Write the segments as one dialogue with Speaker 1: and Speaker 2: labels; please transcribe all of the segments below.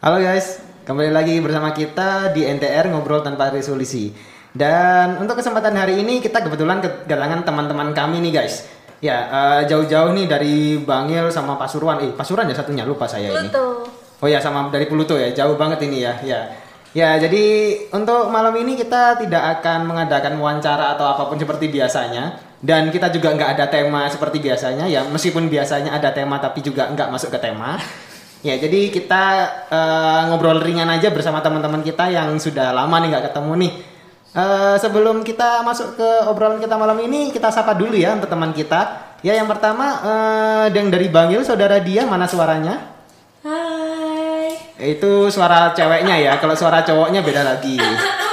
Speaker 1: Halo guys, kembali lagi bersama kita di NTR Ngobrol Tanpa Resolusi. Dan untuk kesempatan hari ini kita kebetulan kedatangan teman-teman kami nih guys. Ya, eh, jauh-jauh nih dari Bangil sama Pasuruan. Eh, Pasuruan ya satunya lupa saya ini.
Speaker 2: Pluto.
Speaker 1: Oh ya sama dari Pluto ya, jauh banget ini ya. Ya. Ya, jadi untuk malam ini kita tidak akan mengadakan wawancara atau apapun seperti biasanya dan kita juga nggak ada tema seperti biasanya ya meskipun biasanya ada tema tapi juga nggak masuk ke tema. Ya, jadi kita eh, ngobrol ringan aja bersama teman-teman kita yang sudah lama nih nggak ketemu nih. Eh, sebelum kita masuk ke obrolan kita malam ini, kita sapa dulu ya untuk teman kita. Ya, yang pertama eh, yang dari Bangil, saudara dia mana suaranya?
Speaker 2: Hai.
Speaker 1: Ya, Itu suara ceweknya ya. Kalau suara cowoknya beda lagi.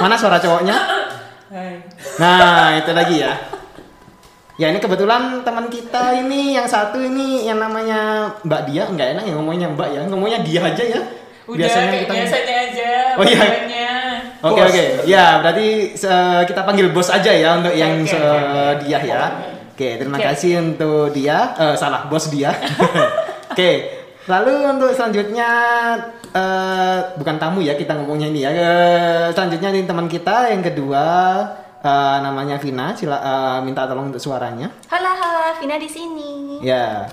Speaker 1: Mana suara cowoknya? Nah, itu lagi ya. Ya ini kebetulan teman kita ini yang satu ini yang namanya Mbak Dia nggak enak ya ngomongnya Mbak ya ngomongnya dia aja ya
Speaker 3: Udah kayak biasanya aja
Speaker 1: Oh, iya.
Speaker 3: pokoknya.
Speaker 1: Oke oke ya berarti se- kita panggil bos aja ya untuk yang
Speaker 3: Oke,
Speaker 1: se-
Speaker 3: oke, oke.
Speaker 1: dia ya Oke terima
Speaker 3: Oke.
Speaker 1: kasih untuk dia Eh, salah bos dia Oke lalu untuk selanjutnya eh, bukan tamu ya kita ngomongnya ini ya Eh, selanjutnya ini teman kita yang kedua eh, namanya Vina sila eh, minta tolong untuk suaranya
Speaker 2: Halo, halo, Vina di sini.
Speaker 1: ya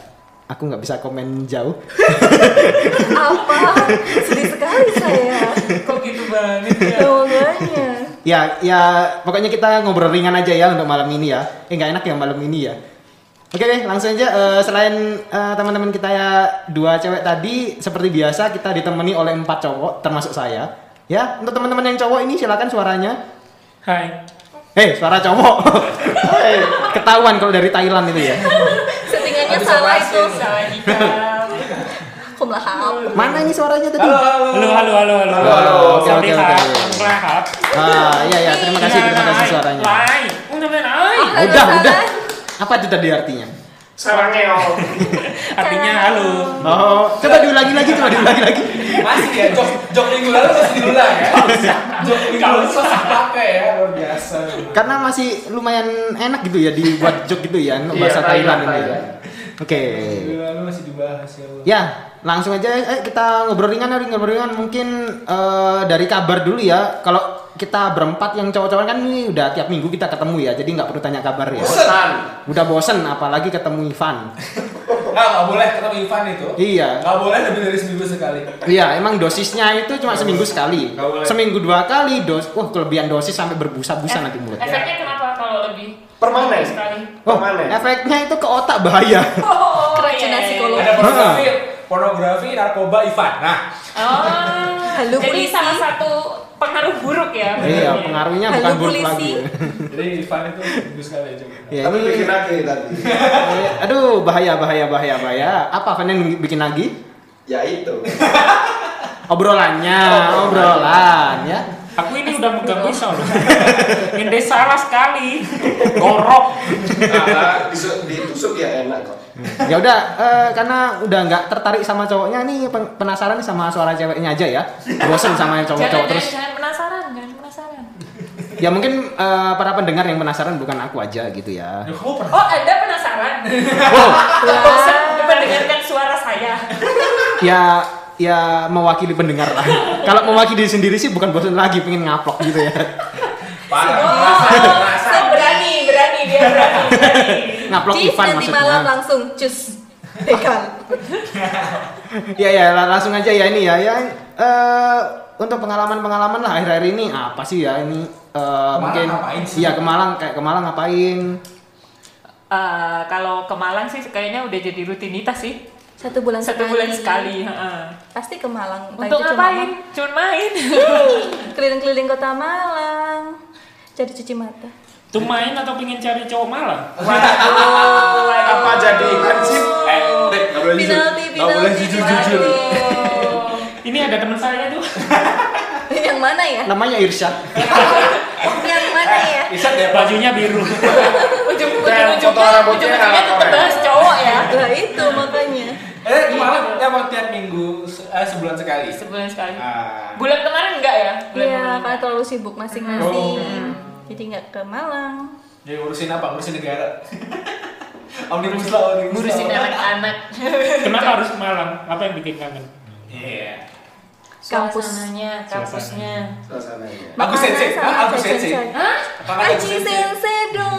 Speaker 1: aku nggak bisa komen jauh
Speaker 2: Apa? Sedih sekali saya.
Speaker 3: Kok gitu banget ya?
Speaker 2: Omongannya.
Speaker 1: Ya, ya pokoknya kita ngobrol ringan aja ya untuk malam ini ya. Eh nggak enak ya malam ini ya. Oke deh, langsung aja eh, selain eh, teman-teman kita ya dua cewek tadi seperti biasa kita ditemani oleh empat cowok termasuk saya. Ya, untuk teman-teman yang cowok ini silakan suaranya.
Speaker 3: Hai.
Speaker 1: Eh, suara cowok. Eh, ketahuan kalau dari Thailand itu ya.
Speaker 2: Settingannya
Speaker 3: Aduh,
Speaker 2: salah
Speaker 3: awasin,
Speaker 2: itu.
Speaker 3: Salah nikah.
Speaker 2: Kumlahap.
Speaker 1: Mana ini suaranya tadi?
Speaker 3: Halo, halo.
Speaker 4: Halo, halo, halo, halo.
Speaker 1: Halo, halo. Oke,
Speaker 4: สวัสดี
Speaker 1: โอเคโอเค
Speaker 4: ครับคุณแม่ครับ
Speaker 1: Ah, iya ya, terima kasih, terima kasih suaranya.
Speaker 4: ไลน์มึงทำไมไลน์
Speaker 1: Ah,
Speaker 2: Halo,
Speaker 1: udah,
Speaker 2: salah.
Speaker 1: udah. Apa itu tadi artinya?
Speaker 4: sarang neo artinya halo
Speaker 1: Oh, coba diulangi lagi, coba diulangi lagi.
Speaker 5: Masih ya, jok, jok minggu lalu masih diulang ya. jok minggu lalu masih pakai ya, luar biasa.
Speaker 1: Karena masih lumayan enak gitu ya dibuat joke gitu ya untuk
Speaker 5: Iya,
Speaker 1: bahasa Thailand
Speaker 5: Thailand,
Speaker 1: ini. ya.
Speaker 5: Thailand.
Speaker 1: Oke.
Speaker 5: Minggu lalu masih dibahas ya. Allah.
Speaker 1: Ya, langsung aja eh, kita ngobrol ringan ya, ngobrol ringan mungkin eh, dari kabar dulu ya. Kalau kita berempat yang cowok-cowok kan ini udah tiap minggu kita ketemu ya, jadi nggak perlu tanya kabar ya.
Speaker 5: Bosan.
Speaker 1: Udah bosen apalagi ketemu Ivan.
Speaker 5: Ah, nggak boleh ketemu Ivan itu.
Speaker 1: iya.
Speaker 5: Nggak boleh lebih dari seminggu sekali.
Speaker 1: Iya, emang dosisnya itu cuma seminggu sekali.
Speaker 5: Nggak boleh. Eh,
Speaker 1: Seminggu dua kali dos. Wah, kelebihan dosis sampai berbusa-busa nanti mulut.
Speaker 3: Efeknya kenapa kalau lebih?
Speaker 6: Permanen.
Speaker 3: Sekali.
Speaker 1: Oh,
Speaker 6: Permanen.
Speaker 1: efeknya itu ke otak bahaya.
Speaker 3: Oh,
Speaker 2: Keracunan
Speaker 3: iya, iya.
Speaker 2: psikologi.
Speaker 5: Ada pornografi, pornografi, narkoba, Ivan. Nah,
Speaker 3: Oh.
Speaker 2: Halo,
Speaker 3: Jadi
Speaker 2: polisi.
Speaker 3: salah satu pengaruh buruk ya.
Speaker 1: Iya, pengaruhnya
Speaker 2: Halo,
Speaker 1: bukan buruk
Speaker 2: polisi.
Speaker 1: lagi.
Speaker 5: jadi Ivan itu seminggu sekali aja.
Speaker 1: Ya,
Speaker 6: Tapi
Speaker 1: ini-
Speaker 6: bikin lagi tadi.
Speaker 1: eh, aduh, bahaya, bahaya, bahaya, bahaya. Apa Van yang bikin lagi?
Speaker 6: Ya itu.
Speaker 1: Obrolannya, obrolan ya.
Speaker 4: aku ini udah megang pisau loh ini salah sekali gorok
Speaker 6: Nah, disu- ditusuk ya enak kok.
Speaker 1: Ya udah, eh, karena udah nggak tertarik sama cowoknya nih, pen- penasaran nih sama suara ceweknya aja ya. Bosen sama yang
Speaker 3: Jangan,
Speaker 1: cowok-cowok
Speaker 3: jangan,
Speaker 1: terus.
Speaker 3: jangan penasaran, jangan penasaran.
Speaker 1: Ya mungkin eh, para pendengar yang penasaran bukan aku aja gitu ya.
Speaker 5: Duh, kok pernah?
Speaker 3: Oh, Anda penasaran?
Speaker 1: Wow,
Speaker 3: Bosan mendengarkan suara saya.
Speaker 1: ya ya mewakili pendengar lah. Kalau mewakili sendiri sih bukan bosen lagi, pengen ngaplok gitu ya.
Speaker 5: Parah.
Speaker 3: Oh, saya berani, berani dia berani. berani.
Speaker 1: Ngaplok
Speaker 2: Cis,
Speaker 1: Ivan
Speaker 2: nanti
Speaker 1: maksudnya.
Speaker 2: malam langsung cus. Dekan.
Speaker 1: Ya ya la- langsung aja ya ini ya ya eh, untuk pengalaman-pengalaman lah akhir-akhir ini apa sih ya ini eh, mungkin
Speaker 5: ngapain sih?
Speaker 1: iya ke Malang kayak ke Malang ngapain
Speaker 3: Eh, kalau ke Malang sih kayaknya udah jadi rutinitas sih.
Speaker 2: Satu bulan sekali.
Speaker 3: Satu bulan sekali. heeh.
Speaker 2: Pasti ke Malang. Entah
Speaker 3: Untuk
Speaker 2: itu cuma
Speaker 3: ngapain? Cuma main.
Speaker 2: Malang. Keliling-keliling kota Malang. Jadi cuci mata.
Speaker 4: tuh main atau pengen cari cowok malah
Speaker 5: Apa jadi ikan sih? Eh, Dek, nggak boleh jujur.
Speaker 2: Penalti,
Speaker 5: Nggak boleh
Speaker 2: penalti,
Speaker 5: jujur-jujur.
Speaker 4: ini ada teman saya tuh
Speaker 2: Yang mana ya?
Speaker 5: Eh. Nah.
Speaker 1: namanya Irsyad
Speaker 2: Yang mana ya?
Speaker 5: Isak deh, Pak.
Speaker 4: bajunya biru
Speaker 3: Ujung
Speaker 5: Dan
Speaker 3: ujung ujungnya
Speaker 5: foto rambutnya
Speaker 3: ujung ujungnya
Speaker 5: nggak
Speaker 3: tetap
Speaker 5: apa-apa.
Speaker 3: bahas
Speaker 4: Oh,
Speaker 3: cowok ya.
Speaker 2: Lah itu makanya.
Speaker 5: Eh, kemarin ya mau tiap minggu se- eh, sebulan sekali.
Speaker 3: Sebulan sekali.
Speaker 5: Ah.
Speaker 3: Bulan kemarin enggak ya? Bulan
Speaker 2: Iya,
Speaker 3: kemarin.
Speaker 2: karena terlalu sibuk masing-masing. Jadi nggak ke Malang.
Speaker 5: Jadi ngurusin apa? Ngurusin negara. Omnibus law, omnibus
Speaker 3: Ngurusin
Speaker 5: law.
Speaker 3: anak-anak.
Speaker 4: kenapa harus ke Malang apa yang bikin kangen
Speaker 5: Iya.
Speaker 2: Kampus.
Speaker 4: Suasananya, kampusnya.
Speaker 6: suasananya
Speaker 5: Aku sensei,
Speaker 2: Makanan sama
Speaker 5: ah, aku
Speaker 2: jajan
Speaker 5: sensei.
Speaker 2: jajan.
Speaker 4: Hah?
Speaker 5: Apakah aku
Speaker 2: Aji
Speaker 5: sensei?
Speaker 2: sensei dong.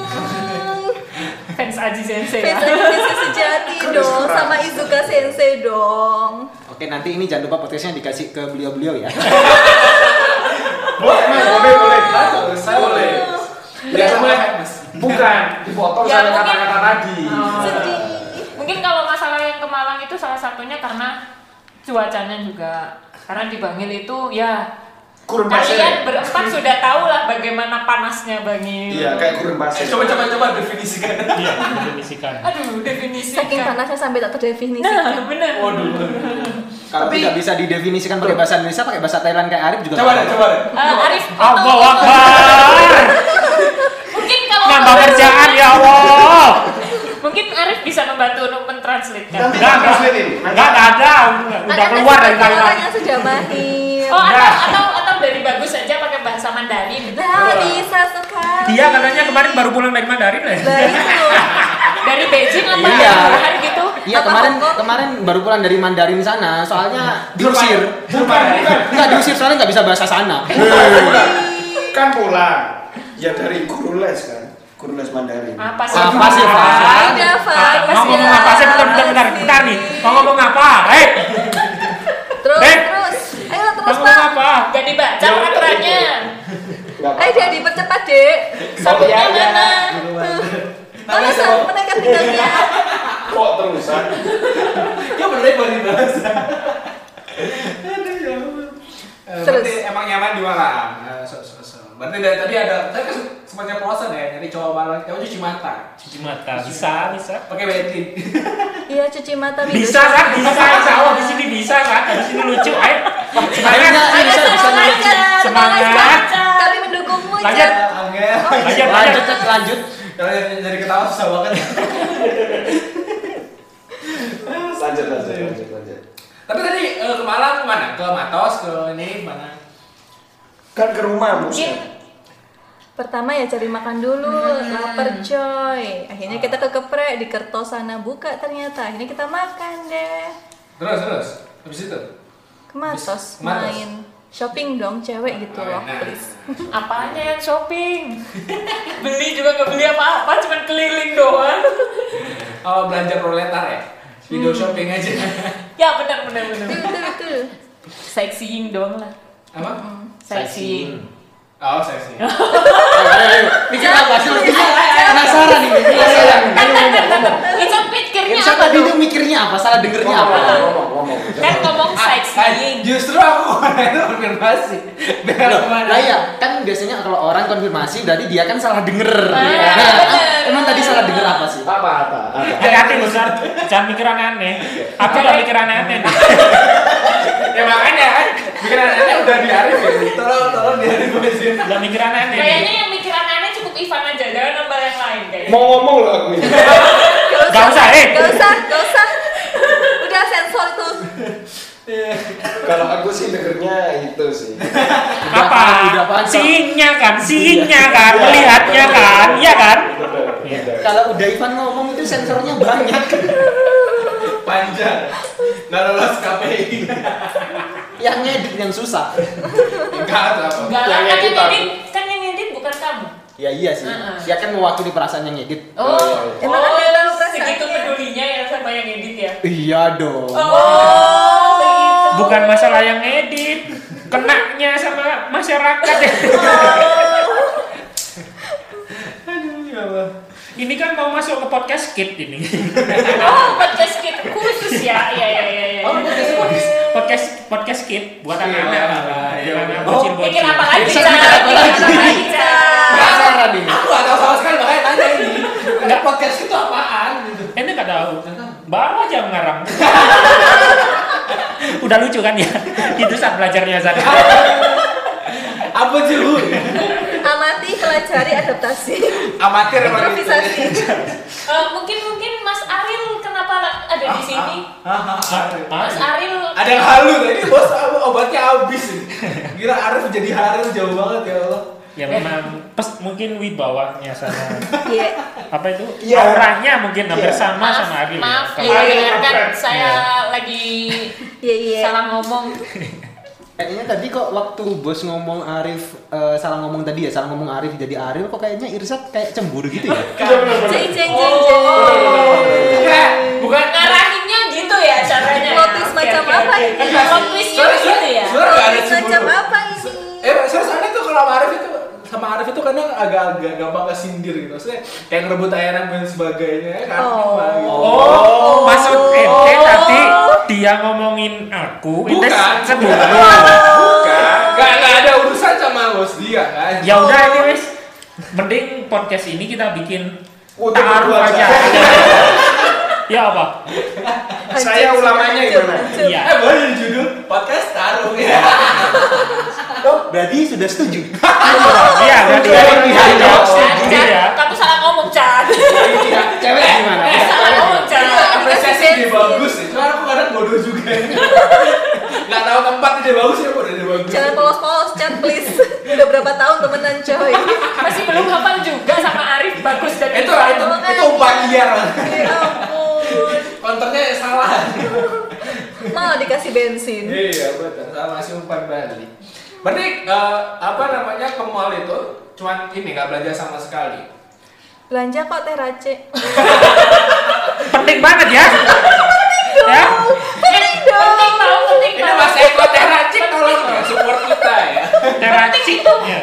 Speaker 3: Fans Aji Sensei.
Speaker 2: Fans Aji sensei sejati dong sama Izuka sensei dong.
Speaker 1: Oke nanti ini jangan lupa podcastnya dikasih ke beliau-beliau ya.
Speaker 6: boleh mas boleh boleh harus boleh
Speaker 5: Ya,
Speaker 6: Ya,
Speaker 5: boleh, Mas.
Speaker 6: bukan dipotong
Speaker 3: Ya,
Speaker 6: sama
Speaker 3: mungkin-
Speaker 6: kata-kata tadi
Speaker 2: Sedih.
Speaker 3: Mungkin kalau masalah yang ke Malang itu salah satunya karena cuacanya juga. Karena di Bangil itu ya
Speaker 6: kurun
Speaker 3: kalian
Speaker 6: pasir
Speaker 3: berempat sudah tahu lah bagaimana panasnya Bangil.
Speaker 6: iya kayak kurun
Speaker 5: Eh,
Speaker 6: pasir
Speaker 5: Coba coba coba definisikan.
Speaker 4: Iya, definisikan.
Speaker 3: Aduh, definisi.
Speaker 2: Saking panasnya sampai tak terdefinisikan.
Speaker 3: Nah, bener.
Speaker 1: Kalau
Speaker 6: Tapi-
Speaker 1: tidak bisa didefinisikan pakai bahasa Indonesia, pakai bahasa Thailand kayak Arif juga.
Speaker 5: Coba deh,
Speaker 1: nggak
Speaker 5: coba deh.
Speaker 3: Eh, Arif,
Speaker 4: Allah
Speaker 3: tolong-
Speaker 4: Akbar.
Speaker 3: mungkin kalau
Speaker 4: Nambah kerjaan ya Allah.
Speaker 3: mungkin Arif bisa membantu untuk mentranslate kan?
Speaker 6: nanti
Speaker 4: Enggak,
Speaker 6: kita translatein
Speaker 4: Enggak enggak ada, udah
Speaker 2: Kan ada
Speaker 4: keluar dari
Speaker 2: sebagian orang
Speaker 4: Thailand.
Speaker 2: yang sudah mahir.
Speaker 3: Oh, atau, atau atau dari bagus aja pakai bahasa Mandarin.
Speaker 2: Nah, bisa sekali.
Speaker 4: Dia katanya kemarin baru pulang dari Mandarin ya.
Speaker 2: Lah, itu.
Speaker 3: Dari Beijing apa
Speaker 1: Iya.
Speaker 3: Wuhan gitu?
Speaker 1: Iya
Speaker 2: Apa
Speaker 1: kemarin
Speaker 2: Hong Kong?
Speaker 1: kemarin baru pulang dari Mandarin sana, soalnya diusir.
Speaker 6: bukan
Speaker 5: Iya.
Speaker 6: bukan
Speaker 1: Enggak diusir soalnya nggak bisa bahasa sana.
Speaker 6: Pulang. kan pulang ya dari guru les kan guru les Mandarin
Speaker 3: Apa sih?
Speaker 1: Apa sih, Pak?
Speaker 2: Ada Fas.
Speaker 4: Mau Ah, ngomong apa sih? Bentar, bentar, bentar, bentar nih. Mau ngomong apa? Eh,
Speaker 2: Terus,
Speaker 4: Eh.
Speaker 2: terus. Ayo
Speaker 4: mau
Speaker 2: terus,
Speaker 4: ngomong
Speaker 2: Pak.
Speaker 4: apa?
Speaker 3: Gak dibaca peraturannya.
Speaker 6: Nggak
Speaker 2: Ayo
Speaker 6: apa-apa.
Speaker 2: dia Eh, dipercepat, Dek.
Speaker 4: Iya,
Speaker 3: Sabunnya mana?
Speaker 2: Mana sabun menekan tinggalnya?
Speaker 6: kok terusan
Speaker 5: Ya bener baru dibahas. ya Eh,
Speaker 2: Terus.
Speaker 5: Berarti emang nyaman di Malang. Eh, so, so, so. Berarti dari tadi ada, tadi kan semuanya puasan ya, nyari cowok Malang, cowok cuci mata,
Speaker 4: Cuci mata. Bisa, bisa.
Speaker 5: pakai wetin.
Speaker 2: Iya, cuci mata Windows.
Speaker 4: Bisa kan? Bisa Insya Allah di sini bisa kan? Di sini lucu. Ayo. Semangat.
Speaker 1: Enggak, bisa bisa.
Speaker 4: Semangat.
Speaker 2: Kami mendukungmu,
Speaker 4: Lanjut.
Speaker 2: Cak.
Speaker 5: Angel.
Speaker 2: Oh, iya.
Speaker 4: Lanjut,
Speaker 1: Lanjut Cek, lanjut.
Speaker 5: Kalau dari, dari ketawa susah banget.
Speaker 6: lanjut lanjut lanjut lanjut
Speaker 5: Tapi tadi eh, ke Malang kemana? Ke Matos, ke ini mana?
Speaker 6: kan ke rumahmu
Speaker 3: Mungkin
Speaker 2: Iya.
Speaker 6: Ustaz.
Speaker 2: Pertama ya cari makan dulu, lapar coy. Akhirnya kita kekeprek di Kertosana buka ternyata. Akhirnya kita makan deh.
Speaker 5: Terus terus. Habis itu.
Speaker 2: Ke Matos
Speaker 5: Ke Matos.
Speaker 2: main shopping dong cewek gitu
Speaker 5: Oh,
Speaker 2: loh,
Speaker 5: enak.
Speaker 2: please.
Speaker 3: apanya yang shopping? beli juga nggak beli apa-apa, cuman keliling doang.
Speaker 5: Oh, belanja proletar ya? Video shopping aja.
Speaker 2: Hmm.
Speaker 3: ya benar benar benar.
Speaker 2: Betul, betul, betul.
Speaker 3: Sightseeing doang lah.
Speaker 5: Apa?
Speaker 3: Sightseeing.
Speaker 5: Oh, saya sih.
Speaker 1: Ayo, ayo, ayo. Mikir apa sih? lu? Penasaran ini, penasaran. Ayo, ayo, ayo.
Speaker 3: Itu pikirnya
Speaker 1: Saya
Speaker 3: apa
Speaker 1: tadi
Speaker 3: tuh?
Speaker 1: tuh mikirnya apa? Salah
Speaker 3: Oh.
Speaker 1: dengernya apa?
Speaker 6: ngomong ngomong ngomong
Speaker 3: Kan ngomong
Speaker 5: Ah,
Speaker 3: sightseeing.
Speaker 5: Justru aku kemarin itu konfirmasi. Dengan kemana?
Speaker 1: Lah ya, kan biasanya kalau orang konfirmasi berarti dia kan salah denger.
Speaker 3: Ah,
Speaker 1: Nah,
Speaker 3: bener.
Speaker 1: emang tadi salah denger apa sih?
Speaker 6: apa apa apa
Speaker 4: Hati-hati lu, Sar. Jangan mikir aneh-aneh. Aku udah mikir aneh-aneh. nih.
Speaker 5: Ya makanya kan bikin anaknya udah di Arif ya. Tolong tolong di Arif aja.
Speaker 4: Udah mikir aneh-aneh. nih.
Speaker 3: Kayaknya yang mikir aneh-aneh cukup Ivan aja, jangan nambah yang lain kayaknya.
Speaker 6: mau ngomong loh aku ini
Speaker 4: Gak usah, eh.
Speaker 2: Gak usah, gak usah. Udah sensor tuh.
Speaker 6: kalau aku sih dengernya itu sih
Speaker 4: apa
Speaker 1: Udah apaan, Sar?
Speaker 4: siingnya kan siingnya kan melihatnya kan iya kan
Speaker 1: Kalau udah Ivan ngomong itu sensornya banyak.
Speaker 5: Panjang. Nggak lolos KPI.
Speaker 1: Yang ngedit yang susah.
Speaker 5: Enggak ada apa.
Speaker 3: Enggak lah, kan yang
Speaker 6: Yang edit
Speaker 3: edit, kan yang edit bukan kamu.
Speaker 1: Ya iya sih.
Speaker 3: Heeh.
Speaker 1: Ya kan mewakili perasaan yang ngedit.
Speaker 3: Oh,
Speaker 2: Emang ada yang tahu perasaannya?
Speaker 3: segitu pedulinya ya sama yang edit ya.
Speaker 1: Iya dong.
Speaker 3: Oh, begitu.
Speaker 4: bukan masalah yang edit kenaknya sama masyarakat
Speaker 3: Oh.
Speaker 4: ya
Speaker 5: Aduh, ya Allah.
Speaker 4: ini kan mau masuk ke podcast skip ini
Speaker 3: Oh, podcast kit khusus ya. Iya, iya, iya, iya.
Speaker 5: Oh, podcast podcast.
Speaker 4: podcast podcast skip buat anak-anak
Speaker 5: Iya, iya, iya.
Speaker 4: anak-anak bocil-bocil.
Speaker 3: Pikir apa lagi?
Speaker 1: Bisa
Speaker 3: Cak?
Speaker 1: mikir apa
Speaker 3: Pikir
Speaker 1: lagi?
Speaker 3: lagi, Cak?
Speaker 1: Penasaran nih.
Speaker 5: Aku nggak tahu sama sekali makanya tanya ini. Enggak podcast itu apaan gitu.
Speaker 4: ini nggak tahu baru aja mengarang udah lucu kan ya itu saat belajarnya saat
Speaker 5: Apa sih lu?
Speaker 2: Amati, pelajari, adaptasi,
Speaker 5: Amatir emang gitu.
Speaker 2: improvisasi.
Speaker 3: Eh, mungkin mungkin Mas Aril kenapa la- ada di sini?
Speaker 5: Ah, ah, ah.
Speaker 3: Mas Aril
Speaker 5: Ada yang halu tadi bos apa, obatnya habis nih. Kira Arif jadi haru jauh banget ya Allah.
Speaker 4: ya memang pes, mungkin wibawanya sama
Speaker 2: Iya.
Speaker 4: apa itu
Speaker 6: Iya.
Speaker 4: auranya mungkin
Speaker 6: Iya.
Speaker 4: hampir sama
Speaker 3: maaf,
Speaker 4: sama Ariel ya.
Speaker 3: maaf,
Speaker 4: Kalau
Speaker 3: ya,
Speaker 4: Ariel
Speaker 3: kan
Speaker 4: perfect.
Speaker 3: saya lagi
Speaker 2: Iya, iya.
Speaker 3: salah ngomong.
Speaker 1: Kayaknya tadi kok waktu bos ngomong Arif eh, salah ngomong tadi ya, salah ngomong Arif jadi Arif kok kayaknya Irsat kayak cemburu gitu ya.
Speaker 6: Iya benar-benar.
Speaker 2: Ceng ceng ceng
Speaker 3: Oh, enggak.
Speaker 5: Eh,
Speaker 3: bukan ngarahinnya gitu ya caranya.
Speaker 2: Plot twist macam apa ini?
Speaker 3: Plot twistnya
Speaker 5: Soalnya-
Speaker 3: gitu ya.
Speaker 5: soalnya nggak ada
Speaker 2: Plot twist macam
Speaker 5: cemburu.
Speaker 2: apa ini?
Speaker 5: Eh, serius aneh tuh kalau sama Arif itu sama Arif itu kadang agak-agak gampang kesindir gitu. Maksudnya kayak ngerebut ayam dan sebagainya ya kan.
Speaker 2: Oh.
Speaker 5: Mbak, gitu.
Speaker 4: Oh, maksud ente tadi dia ngomongin aku, ente
Speaker 5: Bukan.
Speaker 4: cemburu.
Speaker 5: Bukan, nggak nggak ada urusan sama bos dia kan.
Speaker 4: Ya udah ini wis. Mending podcast ini kita bikin
Speaker 6: Udah
Speaker 4: taruh
Speaker 6: berdua
Speaker 4: aja.
Speaker 6: saja.
Speaker 4: ya apa?
Speaker 6: Saya ulamanya gimana?
Speaker 4: Iya.
Speaker 5: Eh, boleh jadi judul podcast taruh ya.
Speaker 1: Oh, berarti sudah setuju.
Speaker 4: Iya, berarti ya.
Speaker 5: Iya, iya.
Speaker 4: Iya,
Speaker 3: Cat,
Speaker 4: ya.
Speaker 3: Kamu salah ngomong cat.
Speaker 1: Cewek gimana?
Speaker 3: Eh, salah ngomong cat.
Speaker 5: apresiasi dia bagus ya. Cuma aku kadang bodoh juga. Nggak tahu tempat dia bagus ya, bodoh dia bagus.
Speaker 2: Jangan polos-polos, chat please. Udah berapa tahun temenan coy?
Speaker 3: Masih belum hafal juga sama Arif bagus dan
Speaker 5: Itu itu itu umpan liar.
Speaker 2: Ya ampun.
Speaker 5: Konternya salah.
Speaker 2: Malah dikasih bensin.
Speaker 5: Iya betul, sama masih umpan balik. Berarti eh, apa namanya ke mall itu cuman ini nggak belanja sama sekali.
Speaker 2: Belanja kok teh race.
Speaker 4: Penting banget ya. Ya.
Speaker 3: penting Eh, Iya, Penting tau, penting
Speaker 5: Ini
Speaker 3: tau.
Speaker 5: Mas Eko Teracik tolong ya, support kita ya.
Speaker 4: Teracik. Ya.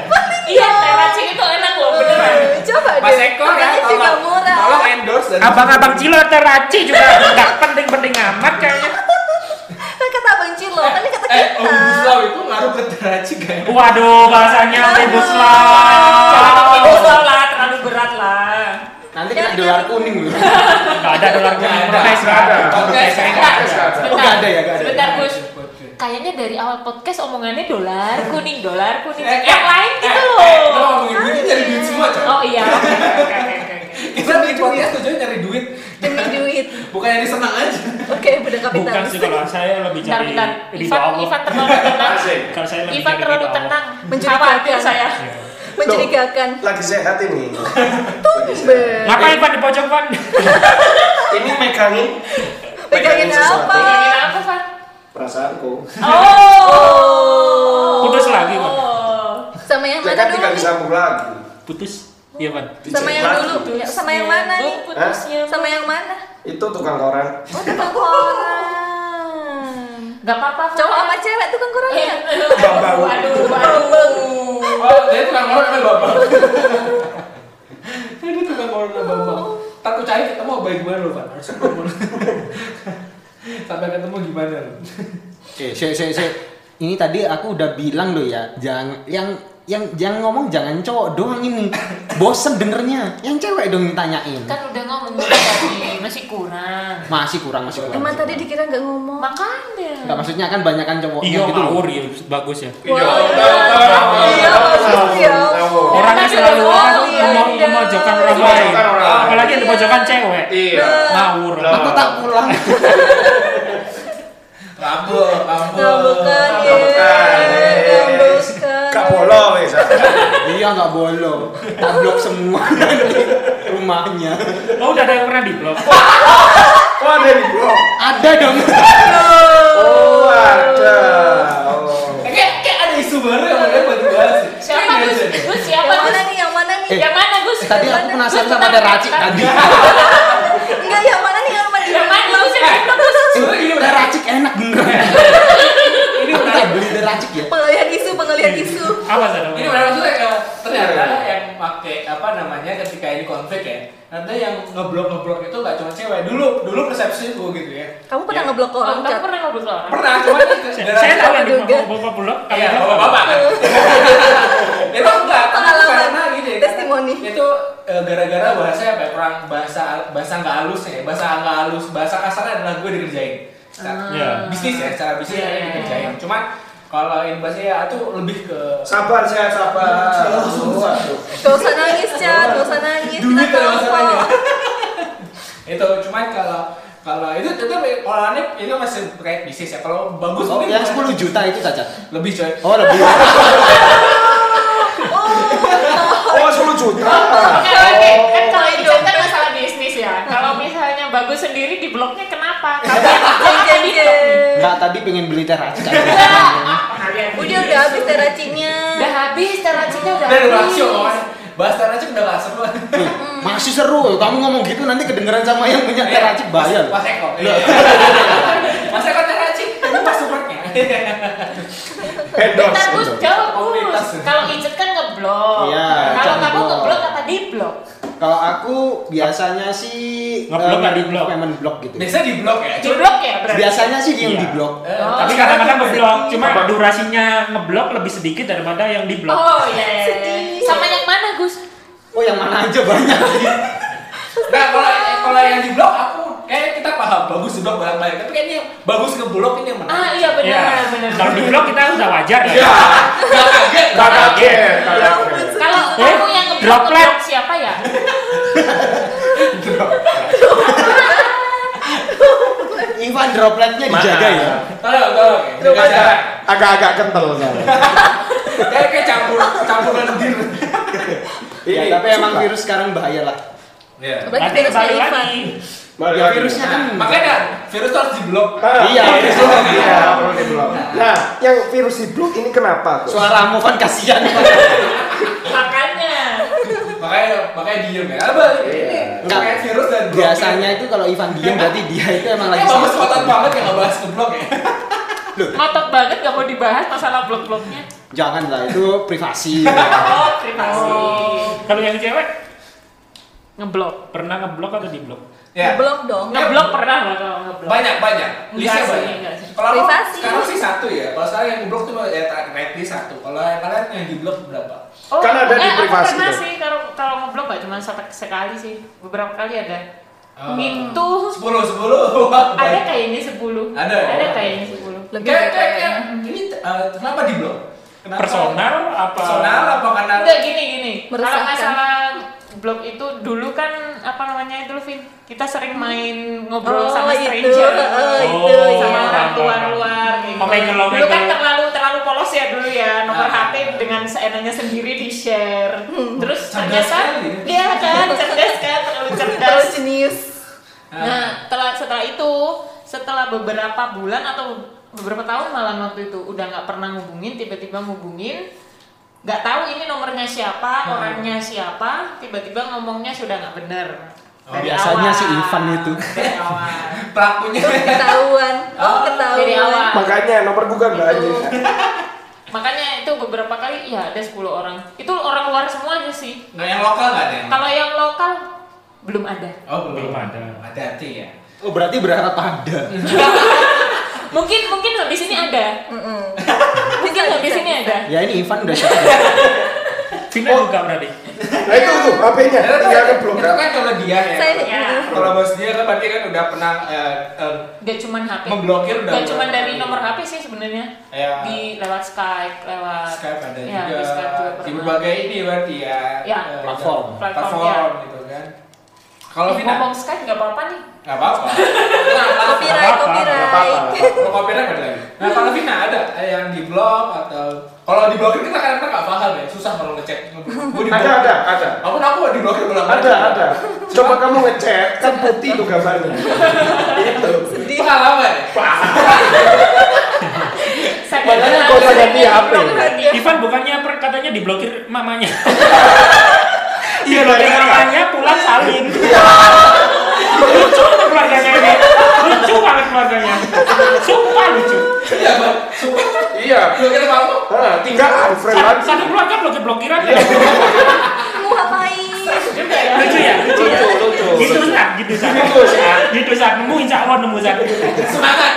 Speaker 3: Iya, teracik itu enak loh, beneran.
Speaker 2: Coba deh.
Speaker 5: Mas Eko ya
Speaker 2: Harganya juga
Speaker 5: tolong
Speaker 2: murah.
Speaker 5: tolong ya. endorse dan
Speaker 4: Abang-abang Cilo teraci juga nggak penting-penting amat kayaknya.
Speaker 2: Kan kata Bang Cilo, kan ini kata
Speaker 5: Eh,
Speaker 2: kita.
Speaker 5: Ombudslau itu ngaruh ke Teracik ya.
Speaker 4: Waduh, bahasanya Omnibus
Speaker 5: Iya.
Speaker 3: Jangan
Speaker 4: Law.
Speaker 3: omnibus law lah, terlalu berat lah.
Speaker 1: Nanti kena dolar kuning loh.
Speaker 4: Nggak ada dolar
Speaker 5: Nggak
Speaker 4: kuning
Speaker 5: ada,
Speaker 4: protes,
Speaker 6: nggak
Speaker 4: nggak
Speaker 6: ada.
Speaker 4: ada.
Speaker 5: Podcast
Speaker 3: Enggak,
Speaker 5: enggak ada.
Speaker 3: enggak.
Speaker 1: Oh, nggak ada ya, nggak ada.
Speaker 3: Sebentar, Gus.
Speaker 5: Oke.
Speaker 3: Kayaknya dari awal podcast omongannya dolar kuning, dolar kuning.
Speaker 5: Eh,
Speaker 3: Yang lain gitu
Speaker 5: eh,
Speaker 3: loh.
Speaker 5: eh, Kita ngomongin duit ini nyari duit semua, coy.
Speaker 3: Oh iya.
Speaker 5: Kita bikin podcast tujuannya nyari duit,
Speaker 2: Demi duit.
Speaker 5: bukan nyari senang aja.
Speaker 2: Oke, udah
Speaker 4: Bukan
Speaker 2: kapitalis.
Speaker 4: sih kalau saya lebih
Speaker 3: Bentar,
Speaker 4: cari
Speaker 3: bentar.
Speaker 4: ridho
Speaker 3: Ivan,
Speaker 4: Allah.
Speaker 3: Ivan terlalu tenang.
Speaker 6: Asik.
Speaker 4: Kalau saya lebih
Speaker 3: Ivan
Speaker 4: cari
Speaker 3: terlalu
Speaker 4: ridho Allah.
Speaker 3: tenang.
Speaker 2: Mencurigakan.
Speaker 3: Khawatir saya.
Speaker 5: Iya.
Speaker 2: Mencurigakan.
Speaker 6: Lagi sehat ini.
Speaker 2: Tumben.
Speaker 4: Ngapain Ivan di pojok Ivan?
Speaker 6: Ini megangin
Speaker 2: Pegangin
Speaker 6: sesuatu.
Speaker 2: apa?
Speaker 3: Pengen apa, Van?
Speaker 6: Perasaanku.
Speaker 3: Oh.
Speaker 4: Putus lagi, Van.
Speaker 3: Oh.
Speaker 2: Sama yang mana
Speaker 6: Ya kan
Speaker 2: dulu?
Speaker 6: tidak
Speaker 2: nih?
Speaker 6: disambung lagi.
Speaker 4: Putus. Iya Ivan.
Speaker 2: Sama yang
Speaker 6: Dicek
Speaker 2: dulu.
Speaker 6: lagi.
Speaker 2: Ya, sama yang mana nih?
Speaker 3: Bu, Putusnya.
Speaker 2: Sama yang mana?
Speaker 6: Itu tukang koran.
Speaker 2: Oh, tukang koran.
Speaker 3: Gak apa-apa.
Speaker 2: Cowok sama cewek tukang ya?
Speaker 3: Eh,
Speaker 2: korannya.
Speaker 6: Bambang.
Speaker 3: Aduh, aduh.
Speaker 5: Oh, jadi tukang koran apa bapak? Jadi tukang koran apa bapak? Takut cari ketemu apa gimana lo pak? Harus ketemu. Sampai ketemu gimana lo?
Speaker 1: Oke, saya saya saya ini tadi aku udah bilang loh ya, jangan yang yang jangan ngomong jangan cowok doang ini. Bosen dengernya. Yang cewek dong yang tanyain.
Speaker 3: Kan udah ngomong juga tadi, masih kurang.
Speaker 1: Masih kurang, masih kurang.
Speaker 2: Emang
Speaker 1: masih
Speaker 2: tadi
Speaker 1: kurang.
Speaker 2: dikira nggak ngomong.
Speaker 1: Enggak
Speaker 3: Makanya.
Speaker 1: maksudnya kan banyak kan cowoknya
Speaker 4: Iya,
Speaker 1: gitu.
Speaker 4: ngawur ya, bagus ya.
Speaker 2: Wah,
Speaker 5: Iya,
Speaker 2: iya, bagus, ya ampun.
Speaker 4: Orangnya
Speaker 3: Tadi udah
Speaker 4: selalu orang
Speaker 3: ngawur,
Speaker 4: mau
Speaker 2: iya.
Speaker 4: memojokkan orang lain.
Speaker 6: Memojokkan orang lain.
Speaker 4: Apalagi yang dipojokan cewek.
Speaker 6: Iya.
Speaker 4: Ngawur.
Speaker 6: Lah.
Speaker 1: Aku tak pulang.
Speaker 5: Kabel, kabel.
Speaker 2: Ngambekan, ya.
Speaker 6: Ngambekan, yes.
Speaker 2: Ngambekan.
Speaker 6: Kak Bolo wes.
Speaker 1: iya nggak bolong. Tak blok semua rumahnya.
Speaker 4: Oh, udah ada yang pernah di blok.
Speaker 6: Oh, ada di blok.
Speaker 1: Ada dong.
Speaker 6: Oh, ada. Oh.
Speaker 5: Eh, Kayak kayak ada isu baru yang mereka buat dibahas.
Speaker 3: Siapa Gus?
Speaker 2: Yang
Speaker 3: Gus siapa
Speaker 2: mana
Speaker 3: Gus?
Speaker 2: nih? Yang mana nih?
Speaker 1: Eh,
Speaker 3: Yang mana Gus?
Speaker 1: Tadi aku penasaran sama ada racik tadi.
Speaker 2: Enggak, yang mana nih? Yang mana?
Speaker 3: Yang mana Gus? Yang mana Gus?
Speaker 5: Sebenarnya ini
Speaker 1: Ada
Speaker 5: udah
Speaker 1: racik enak beneran.
Speaker 5: ini
Speaker 1: Aku
Speaker 5: udah
Speaker 1: tak beli ada racik ya.
Speaker 2: Pengalihan isu, pengalihan isu.
Speaker 4: Apa sih?
Speaker 5: ini benar maksudnya eh, ternyata yang pakai apa namanya ketika ini konflik ya nanti yang ngeblok ngeblok itu nggak cuma cewek dulu dulu persepsiku gitu ya
Speaker 2: Kamu pernah
Speaker 5: Ya.
Speaker 2: ngeblok
Speaker 3: Oh,
Speaker 2: orang?
Speaker 3: kamu
Speaker 2: Cat?
Speaker 3: pernah ngobrol sama orang?
Speaker 5: pernah cuman
Speaker 4: Saya tahu yang di
Speaker 2: juga.
Speaker 4: bapak blok.
Speaker 5: Iya, bapak-bapak. Memang enggak
Speaker 2: Pengalaman.
Speaker 5: karena gini. kan,
Speaker 2: Testimoni.
Speaker 5: Itu eh, gara-gara bahasa apa? ya, Perang bahasa bahasa nggak halus ya. Bahasa nggak halus, bahasa kasarnya adalah gue dikerjain.
Speaker 2: Ah.
Speaker 5: Secara-
Speaker 4: Iya.
Speaker 5: Bisnis ya, secara bisnis
Speaker 3: Iya,
Speaker 5: saya
Speaker 3: iya,
Speaker 5: dikerjain. Cuman kalau ini bahasa ya itu lebih ke
Speaker 6: Sabar saya sabar. Oh, aduh.
Speaker 2: Gak usah nangis, Cat. Gak usah nangis. Kita
Speaker 5: Duit ada
Speaker 2: tahu
Speaker 5: masalahnya.
Speaker 2: kok.
Speaker 5: itu cuman kalau kalau itu itu olahannya itu masih terkait bisnis ya. Kalau bagus
Speaker 1: Oh,
Speaker 5: mungkin
Speaker 1: yang 10 juta itu saja.
Speaker 5: lebih coy.
Speaker 1: Oh, lebih.
Speaker 6: Oh, 10 juta.
Speaker 3: Oke oke, kan kalau ini kan masalah bisnis ya. Kalau misalnya bagus sendiri di blognya kenapa? Kamu
Speaker 2: Jeng, jeng, jeng.
Speaker 1: Enggak, tadi pengen beli teh racik.
Speaker 3: Enggak.
Speaker 4: Kalian
Speaker 2: Udah udah habis teracinya.
Speaker 3: Udah habis, teracinya udah
Speaker 5: Udah udah
Speaker 3: habis.
Speaker 5: rasio pokoknya. Bahas teraci udah nggak seru.
Speaker 1: Iya.
Speaker 3: Hmm.
Speaker 1: Masih seru, kamu ngomong gitu nanti kedengeran sama yang punya teraci bayar.
Speaker 5: Mas Eko. iya. Mas Eko teraci. Ini pas supernya.
Speaker 6: Endorse.
Speaker 3: Bentar Gus, jawab Gus.
Speaker 5: Komunitas.
Speaker 3: Kalau icet kan ngeblok.
Speaker 1: Iya,
Speaker 3: Kalau
Speaker 1: jangan
Speaker 3: kamu
Speaker 1: blok.
Speaker 3: ngeblok apa di blok?
Speaker 1: Kalau aku biasanya sih
Speaker 4: Ngeblok nggak
Speaker 1: eh,
Speaker 4: diblok?
Speaker 1: Memang blok gitu.
Speaker 5: Biasa di blog ya.
Speaker 3: Di blok ya berarti.
Speaker 1: Biasanya sih yang
Speaker 4: Iya.
Speaker 1: di blok.
Speaker 5: Eh,
Speaker 3: Oh.
Speaker 4: Tapi kadang-kadang ngeblok, cuma durasinya ngeblok lebih sedikit daripada yang di blok.
Speaker 3: Oh iya.
Speaker 2: Sedih.
Speaker 3: Sama yang mana Gus?
Speaker 1: Oh yang mana aja banyak.
Speaker 5: Nah, kalau kalau yang di blog aku kayak kita paham bagus di blog barang lain. Tapi kayaknya yang bagus ke blog ini yang menang.
Speaker 3: Ah iya benar
Speaker 4: Iya.
Speaker 3: benar.
Speaker 4: Kalau di blok kita udah wajar ya.
Speaker 6: Ya,
Speaker 5: Gak Iya, kaget.
Speaker 6: gak kaget, gak kaget.
Speaker 3: Kalau
Speaker 4: Eh,
Speaker 3: kamu yang ngeblok,
Speaker 4: droplet.
Speaker 3: ngeblok siapa ya?
Speaker 1: Ivan dropletnya dijaga ya.
Speaker 5: Tolong, tolong. Jaga jarak.
Speaker 6: Agak- Agak-agak kental
Speaker 1: Iya,
Speaker 6: soalnya.
Speaker 5: Kayak kayak campur campuran bir.
Speaker 1: Ya,
Speaker 6: Ini,
Speaker 1: tapi emang
Speaker 6: suka.
Speaker 1: virus sekarang bahaya lah.
Speaker 5: Iya.
Speaker 2: Berarti
Speaker 4: Nanti
Speaker 2: virusnya
Speaker 4: kembali
Speaker 2: Ivan.
Speaker 4: lagi.
Speaker 6: Balik
Speaker 1: Ya,
Speaker 6: lagi.
Speaker 1: virusnya kan
Speaker 5: Makanya virus tuh harus di blok.
Speaker 6: Ah,
Speaker 1: Iya,
Speaker 6: virus
Speaker 1: iya.
Speaker 6: di- iya, perlu di blok. Nah, yang virus di blok ini kenapa tuh?
Speaker 1: suaramu kan kasihan.
Speaker 3: Makanya.
Speaker 5: Makanya makanya diem ya. Apa? Ini
Speaker 6: Iya.
Speaker 5: kayak virus dan blog.
Speaker 1: Biasanya itu kalau Ivan diem berarti dia itu emang lagi
Speaker 3: Iya,
Speaker 5: Kayak bagus
Speaker 1: sakit.
Speaker 5: kotak banget yang nggak bahas ke blog ya.
Speaker 3: Ngotot banget gak mau dibahas masalah blok-bloknya.
Speaker 1: Jangan lah itu privasi.
Speaker 3: Oh, terima kasih.
Speaker 4: Kalau yang cewek
Speaker 3: Ngeblok.
Speaker 4: pernah ngeblok atau di blok?
Speaker 5: Ya.
Speaker 2: Blok dong.
Speaker 3: Ngeblok pernah nggak kalau ngeblok?
Speaker 5: Banyak banyak. Listnya
Speaker 3: Enggak sih,
Speaker 5: banyak.
Speaker 3: enggak sih.
Speaker 5: Kalau aku
Speaker 2: Privasi.
Speaker 5: sekarang sih satu ya. Kalau sekarang yang di blok cuma ya rate satu. Kalau yang kalian yang di blok berapa?
Speaker 3: Oh,
Speaker 6: Kan ada di
Speaker 3: aku
Speaker 6: privasi
Speaker 3: pernah
Speaker 6: tuh.
Speaker 3: sih kalau kalau ngeblok gak cuma satu sekali sih, beberapa kali ada. Itu
Speaker 5: Sepuluh sepuluh.
Speaker 3: ada kayaknya sepuluh.
Speaker 5: Ada ya?
Speaker 3: Ada kayaknya sepuluh.
Speaker 2: Lebih
Speaker 5: Kayak
Speaker 2: dari
Speaker 5: kayak
Speaker 2: kayaknya. Mhm.
Speaker 5: kayak, ini eh, kenapa di blok? Kenapa?
Speaker 4: Personal apa?
Speaker 5: Personal apa karena?
Speaker 3: Enggak gini gini. Kalau
Speaker 2: Meresahkan.
Speaker 3: masalah blog itu dulu kan apa namanya itu Vin? Kita sering main ngobrol
Speaker 2: Oh,
Speaker 3: sama
Speaker 2: itu,
Speaker 3: stranger.
Speaker 2: oh,
Speaker 4: itu,
Speaker 3: sama
Speaker 4: iya.
Speaker 3: orang luar luar gitu.
Speaker 4: Omegel, omegel.
Speaker 3: Dulu kan terlalu terlalu polos ya dulu ya. Nomor
Speaker 5: Ah.
Speaker 3: HP dengan seenaknya sendiri di-share.
Speaker 2: Hmm.
Speaker 3: Terus
Speaker 5: Cerdas
Speaker 3: ternyata
Speaker 5: sekali.
Speaker 3: iya kan cerdas kan terlalu
Speaker 2: Terlalu
Speaker 3: cerdas.
Speaker 2: jenius.
Speaker 3: Nah, setelah setelah itu, setelah beberapa bulan atau beberapa tahun malah waktu itu udah nggak pernah ngubungin, tiba-tiba ngubungin, nggak tahu ini nomornya siapa,
Speaker 5: Hmm.
Speaker 3: orangnya siapa, tiba-tiba ngomongnya sudah nggak bener.
Speaker 5: Oh,
Speaker 3: Dari
Speaker 1: biasanya
Speaker 3: awal.
Speaker 1: si Ivan itu.
Speaker 3: Dari awal.
Speaker 5: Pelakunya.
Speaker 2: Ketahuan. Oh,
Speaker 5: Oh,
Speaker 3: dari
Speaker 2: ketahuan.
Speaker 3: awal.
Speaker 6: Makanya nomor gue nggak ada.
Speaker 3: Itu. Makanya itu beberapa kali ya ada 10 orang. Itu orang luar semuanya sih.
Speaker 5: Nggak yang lokal nggak ada yang.
Speaker 3: Kalau yang lokal belum ada.
Speaker 5: Oh
Speaker 4: Belum ada.
Speaker 5: Hati-hati ya.
Speaker 1: Oh berarti berharap ada.
Speaker 3: Mungkin mungkin habis ini ada.
Speaker 2: Mm-mm.
Speaker 3: Mungkin
Speaker 2: Bisa,
Speaker 3: habis
Speaker 2: bisa,
Speaker 3: ini
Speaker 2: bisa.
Speaker 3: ada.
Speaker 1: Ya ini Ivan udah sakit.
Speaker 4: Vina juga berarti.
Speaker 6: Nah itu tuh HP-nya tinggal ke blok.
Speaker 5: Itu kan kalau dia ya.
Speaker 2: Saya
Speaker 3: Ya.
Speaker 5: Kalau bos dia kan berarti kan udah pernah eh, eh,
Speaker 3: Gak cuman HP.
Speaker 5: Memblokir udah
Speaker 3: Gak cuman
Speaker 5: berapa
Speaker 3: dari
Speaker 5: kali?
Speaker 3: nomor HP sih sebenarnya.
Speaker 5: Ya.
Speaker 3: Di lewat Skype, lewat
Speaker 5: Skype ada
Speaker 3: ya,
Speaker 5: juga,
Speaker 3: Di Skype juga
Speaker 5: di
Speaker 3: pernah.
Speaker 5: berbagai ini berarti ya,
Speaker 3: Ya.
Speaker 5: eh,
Speaker 1: Platform.
Speaker 5: platform,
Speaker 3: Platform, iya.
Speaker 5: gitu kan. Kalau
Speaker 3: Eh,
Speaker 5: Vina,
Speaker 3: ngomong Nah, Skype gak apa-apa nih.
Speaker 5: nggak apa-apa.
Speaker 2: Copyright,
Speaker 4: Nggak apa-apa, nggak
Speaker 2: copyright.
Speaker 5: Kalau copyright ada lagi. Nah kalau Vina ada eh, yang di blog atau kalau di blogir kita kadang-kadang nggak paham ya, susah kalau ngecek. Gua di
Speaker 6: Ada
Speaker 5: blogger.
Speaker 6: ada ada.
Speaker 5: Aku aku di blogir bolak
Speaker 6: Ada ada. Coba kamu ngecek kan putih tuh gambarnya. Itu.
Speaker 5: Pengalaman. ya?
Speaker 3: Saya
Speaker 6: Makanya kau tanya dia HP.
Speaker 4: Ivan bukannya per, katanya diblokir mamanya.
Speaker 6: Iya
Speaker 4: Diblokir
Speaker 6: lah.
Speaker 4: mamanya pulang salin. lucu tuh keluarganya ini. Lucu banget keluarganya. Sumpah lucu.
Speaker 5: Iya, Bang. Sumpah.
Speaker 6: Iya.
Speaker 5: Blogir kamu?
Speaker 6: Ah, Tinggal unfriend
Speaker 4: Satu,
Speaker 6: lagi.
Speaker 4: satu keluarga blokir-blokiran ya.
Speaker 6: Iya.
Speaker 2: Kamu ngapain?
Speaker 4: Lucu ya? Lucu ya?
Speaker 6: lucu.
Speaker 4: Gitu Zak, gitu Zak.
Speaker 6: Gitu, Zak.
Speaker 4: Gitu Zak, nemu insya Allah nemu Zak.
Speaker 5: Semangat,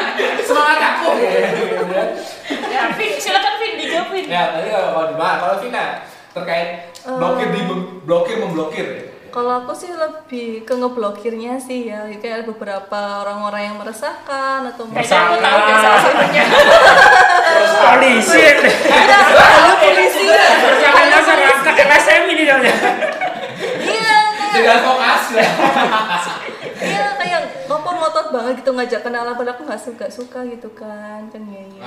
Speaker 5: semangat aku.
Speaker 3: Iya, Ya, Vin, silakan Vin dijawabin.
Speaker 5: Ya tadi kalau kalau di mana? Kalau Vina terkait
Speaker 3: Eh.
Speaker 5: blokir di blokir memblokir. ya?
Speaker 2: Kalau aku sih lebih ke ngeblokirnya sih ya kayak beberapa orang-orang yang meresahkan atau
Speaker 3: Kayaknya aku tahu
Speaker 4: Masalah.
Speaker 3: deh salah satunya.
Speaker 4: Polisi.
Speaker 2: Ada, ada polisi.
Speaker 4: Perjalanan masyarakat LSM ini namanya.
Speaker 2: Iya,
Speaker 5: Jadi advokasi ya.
Speaker 2: kayak iya kayak kompor ngotot banget gitu ngajak kenalan padahal aku nggak suka suka gitu kan kan ya iya.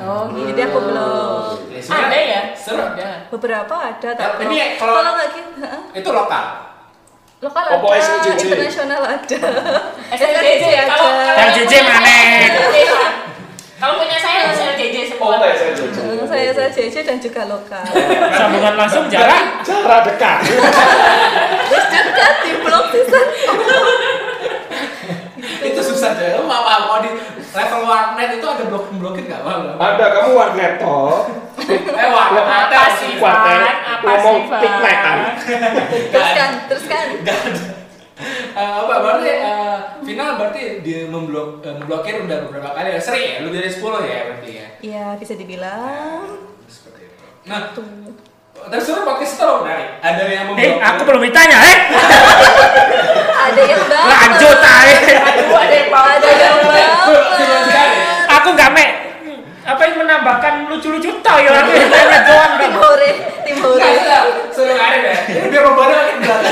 Speaker 5: Oh.
Speaker 2: Oh,
Speaker 3: gitu.
Speaker 2: jadi aku belum.
Speaker 3: Ada ya?
Speaker 5: Eh, Seru.
Speaker 3: Ada.
Speaker 4: Eh,
Speaker 2: Beberapa ada
Speaker 5: Ya,
Speaker 2: tapi
Speaker 5: ini ya, kalau-
Speaker 2: kalau nggak gitu, heeh.
Speaker 5: Itu lokal.
Speaker 2: lokal
Speaker 6: Oh,
Speaker 2: ada,
Speaker 6: boy, SJJ.
Speaker 2: internasional ada,
Speaker 3: SJJ,
Speaker 2: SJJ ada.
Speaker 3: kalau- kalau-
Speaker 4: LJJ mana?
Speaker 3: Iya. Kalau punya saya sel JJ semua.
Speaker 6: Oh, ya,
Speaker 5: eh.
Speaker 6: saya jujur.
Speaker 2: Hmm, saya saya JJ dan juga lokal.
Speaker 4: Sambungan langsung jarak.
Speaker 6: Jarak dekat.
Speaker 2: Terus juga di blog sisan.
Speaker 5: itu susah deh lu mau mau di level warnet itu ada blok blokir nggak mau
Speaker 6: Ada kamu warnet toh.
Speaker 5: eh warnet
Speaker 3: Apa
Speaker 5: ada
Speaker 3: sih, Pak?
Speaker 6: eh.
Speaker 5: sih
Speaker 4: Kuatnya
Speaker 3: Apa
Speaker 4: ngomong
Speaker 3: sih, Pak?
Speaker 4: tikletan.
Speaker 5: kan?
Speaker 3: kan?
Speaker 2: Teruskan, teruskan.
Speaker 5: nggak ada Eh, apa berarti eh, final berarti di memblok eh, memblokir udah beberapa kali ya sering ya lu dari 10 ya berarti ya
Speaker 2: Iya, bisa dibilang.
Speaker 5: seperti itu nah
Speaker 2: Tuh.
Speaker 5: terus suruh podcast itu lo menarik ada yang
Speaker 4: Eh,
Speaker 5: memblokir
Speaker 4: aku belum ditanya, eh.
Speaker 2: Ada yang banget.
Speaker 4: Lanjut, ae.
Speaker 3: Aduh, ada yang mau.
Speaker 2: Ada yang
Speaker 5: Suruh- suruh
Speaker 2: banget.
Speaker 5: sekali
Speaker 4: Aku nggak me apa yang menambahkan lucu-lucu toh ya aku ditanya doang
Speaker 2: Tim
Speaker 4: kamu.
Speaker 2: hore, tim hore.
Speaker 5: Nggak, sudah. Iya, Suruh ngarit ya. Ini biar bebannya makin berat.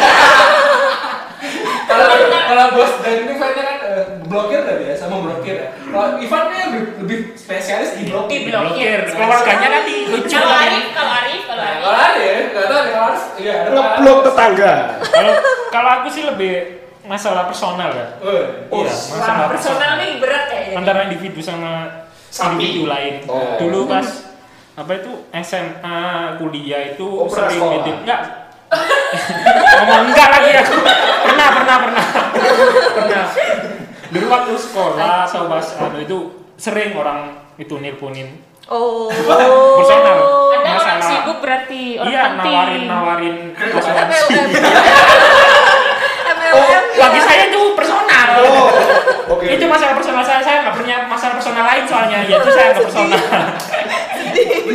Speaker 5: Kalau kalau bos dan ini fightnya kan eh, blokir udah biasa memblokir ya. Kalau Ivan kan lebih, lebih spesialis di blokir.
Speaker 3: Diblokir.
Speaker 4: Keluarganya nanti lucu.
Speaker 3: Kalau Arif, kalau Arif, kalau
Speaker 5: Nah,
Speaker 3: Arif.
Speaker 5: Kalau ada ya, nggak tahu deh, kalau harus iya. ada
Speaker 6: Ngeblok tetangga.
Speaker 4: Kalau kalau aku sih lebih masalah personal ya.
Speaker 5: Eh,
Speaker 4: Iya, masalah
Speaker 3: Sama personal nih berat kayaknya.
Speaker 4: antara individu sama
Speaker 6: Sapi.
Speaker 4: individu lain.
Speaker 6: Oh.
Speaker 4: Dulu pas apa itu SMA kuliah itu
Speaker 6: Oh, pernah
Speaker 4: sering
Speaker 6: sekolah.
Speaker 4: nitip enggak ngomong enggak lagi aku pernah pernah pernah pernah dulu waktu sekolah atau pas anu itu sering orang itu nirpunin
Speaker 2: Oh.
Speaker 4: Personal.
Speaker 3: Anda orang
Speaker 4: Masalah.
Speaker 3: sibuk berarti orang
Speaker 4: iya
Speaker 3: penting.
Speaker 4: nawarin nawarin asuransi
Speaker 2: MLM.
Speaker 4: oh
Speaker 2: MLM.
Speaker 4: bagi saya itu personal
Speaker 6: Oh, oke.
Speaker 4: itu masalah personal saya saya nggak punya masalah personal lain soalnya yaitu saya nggak personal
Speaker 5: Iya.